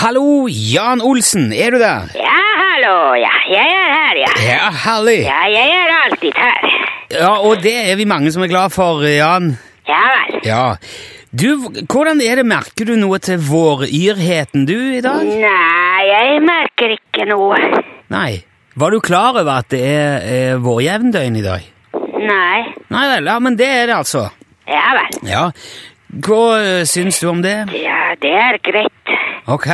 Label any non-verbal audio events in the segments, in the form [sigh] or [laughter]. Hallo, Jan Olsen, er du der? Ja, hallo, ja. Jeg er her, ja. Ja, herlig. Ja, jeg er alltid her. Ja, og det er vi mange som er glad for, eh, Jan. Ja vel. Ja. Du, hvordan er det, merker du noe til våryrheten du i dag? Nei, jeg merker ikke noe. Nei. Var du klar over at det er, er vårjevndøgn i dag? Nei. Nei vel, ja, men det er det altså. Ja vel. Ja. Hva eh, syns du om det? Ja, det er greit. Ok.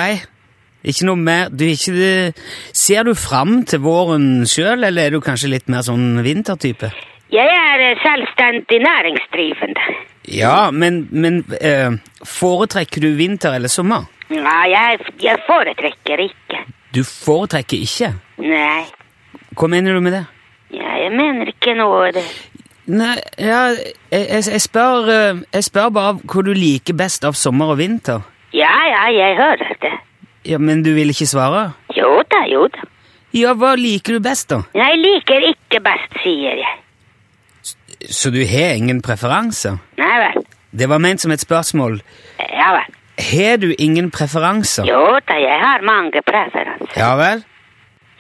Ikke noe mer du, er ikke, det- Ser du fram til våren sjøl, eller er du kanskje litt mer sånn vintertype? Jeg er eh, selvstendig næringsdrivende. Ja, men, men eh, foretrekker du vinter eller sommer? Ja, jeg, jeg foretrekker ikke. Du foretrekker ikke. Nei. Hva mener du med det? Ja, jeg mener ikke noe av det. Nei, ja, jeg, jeg, jeg, spør, eh, jeg spør bare hva du liker best av sommer og vinter. Ja, ja, jeg hører det. Ja, Men du vil ikke svare? Jo da, jo da. Ja, hva liker du best, da? Jeg liker ikke best, sier jeg. Så du har ingen preferanser? Nei vel. Det var ment som et spørsmål. Ja vel. Har du ingen preferanser? Jo da, jeg har mange preferanser. Ja vel?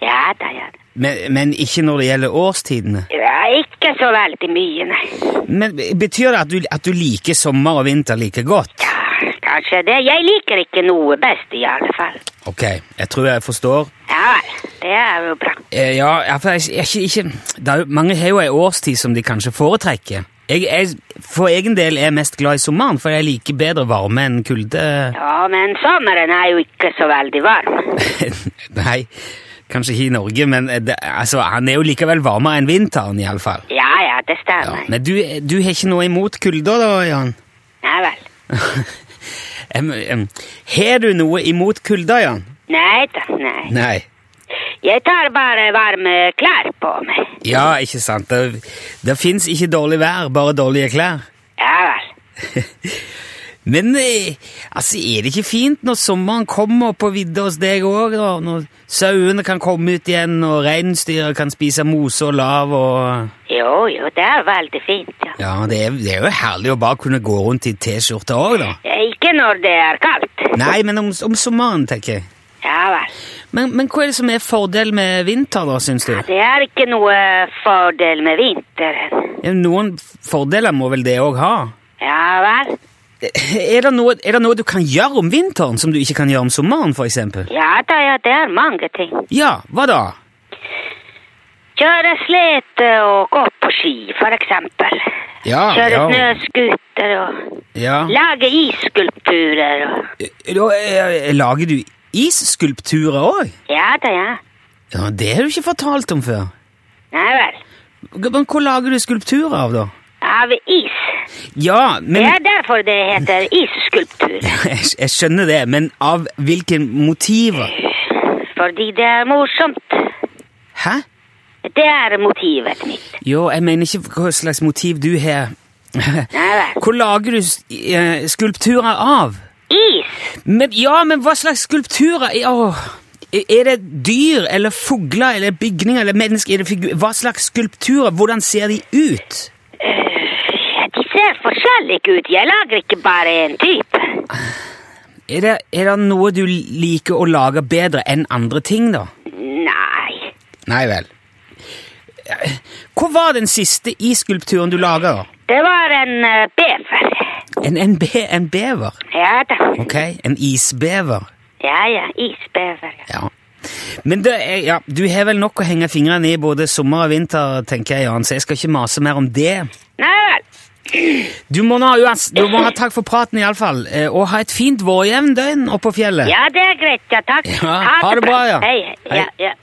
Ja da, ja da. Men, men ikke når det gjelder årstidene. Ja, ikke så veldig mye, nei. Men Betyr det at du, at du liker sommer og vinter like godt? Ja, kanskje det. Jeg liker ikke noe best, i alle fall. Ok, jeg tror jeg forstår. Ja vel, det er jo bra. Eh, ja, ja, for jeg, jeg, ikke, ikke, det er jo, Mange har jo ei årstid som de kanskje foretrekker. Jeg, jeg, for egen del er jeg mest glad i sommeren, for jeg liker bedre varme enn kulde. [laughs] Ja, men sommeren er jo ikke så veldig varm. Nei, kanskje ikke i Norge, men eh, det, altså, han er jo likevel varmere enn vinteren, iallfall. Ja, ja, det Ja, stemmer. men du, du har ikke noe imot kulda, da, Jan? [laughs] Nei vel. Em, em, Har du noe imot kulda, Jan? Nei da, nei. Nei. Jeg tar bare varme klær på meg. Ja, ikke sant. Det, det fins ikke dårlig vær, bare dårlige klær. Ja vel. Men eh, altså, er det ikke fint når sommeren kommer på vidda hos deg òg? Når sauene kan komme ut igjen, og reinsdyra kan spise mose og lav og Jo, jo, det er veldig fint, ja. Ja, det er, det er jo herlig å bare kunne gå rundt i T-skjorte òg, da. Ja, Ikke når det er kaldt. Nei, men om, om sommeren, tenker jeg. Ja vel. Men, men hva er det som er fordelen med vinter, da, syns du? Det er ikke noe fordel med vinteren. Ja, Noen fordeler må vel det òg ha? Ja vel. Er det, noe, er det noe du kan gjøre om vinteren som du ikke kan gjøre om sommeren, for eksempel? Ja da, ja, det er mange ting. Ja, hva da? Kjøre slete og gå på ski, for eksempel. Ja, Ah, Kjøre ja. snøskuter og Ja. lage isskulpturer og Da eh, lager du isskulpturer òg? Ja da, ja. Ja, det har du ikke fortalt om før. Nei vel. Men hva lager du skulpturer av, da? Av is. Ja, Det men er derfor det heter isskulptur. [laughs] jeg, jeg skjønner det, men av hvilke motiver? Fordi det er morsomt. Hæ? Det er motivet mitt. Jo, jeg mener ikke hva slags motiv du [laughs] har. Nei vel. Hva lager du s- eh, skulpturer av? Is. Men ja, men hva slags skulpturer er- åh, Er det dyr eller fugler eller bygninger eller mennesker? Er det figur- hva slags skulpturer? Hvordan ser de ut? Ja, De ser forskjellige ut. Jeg lager ikke bare én type. Er det, er det noe du liker å lage bedre enn andre ting, da? Nei. Nei vel. Hva var den siste isskulpturen du laga? Det var en eh, bever. En, en, be, en bever? Ja da. Ok, en isbever. Ja ja, isbever. ja. Ja. Men det er, ja, du har vel nok å henge fingrene i både sommer og vinter, tenker jeg, Jan, så jeg skal ikke mase mer om det. Nei vel. Du må, nå ha, uans- du må ha takk for praten iallfall, Eh, og ha et fint vårjevndøgn oppe på fjellet. Ja, det er greit. Ja, takk. Ja, ha det bra, ja. Hei. hei. Ja, Hei. ja.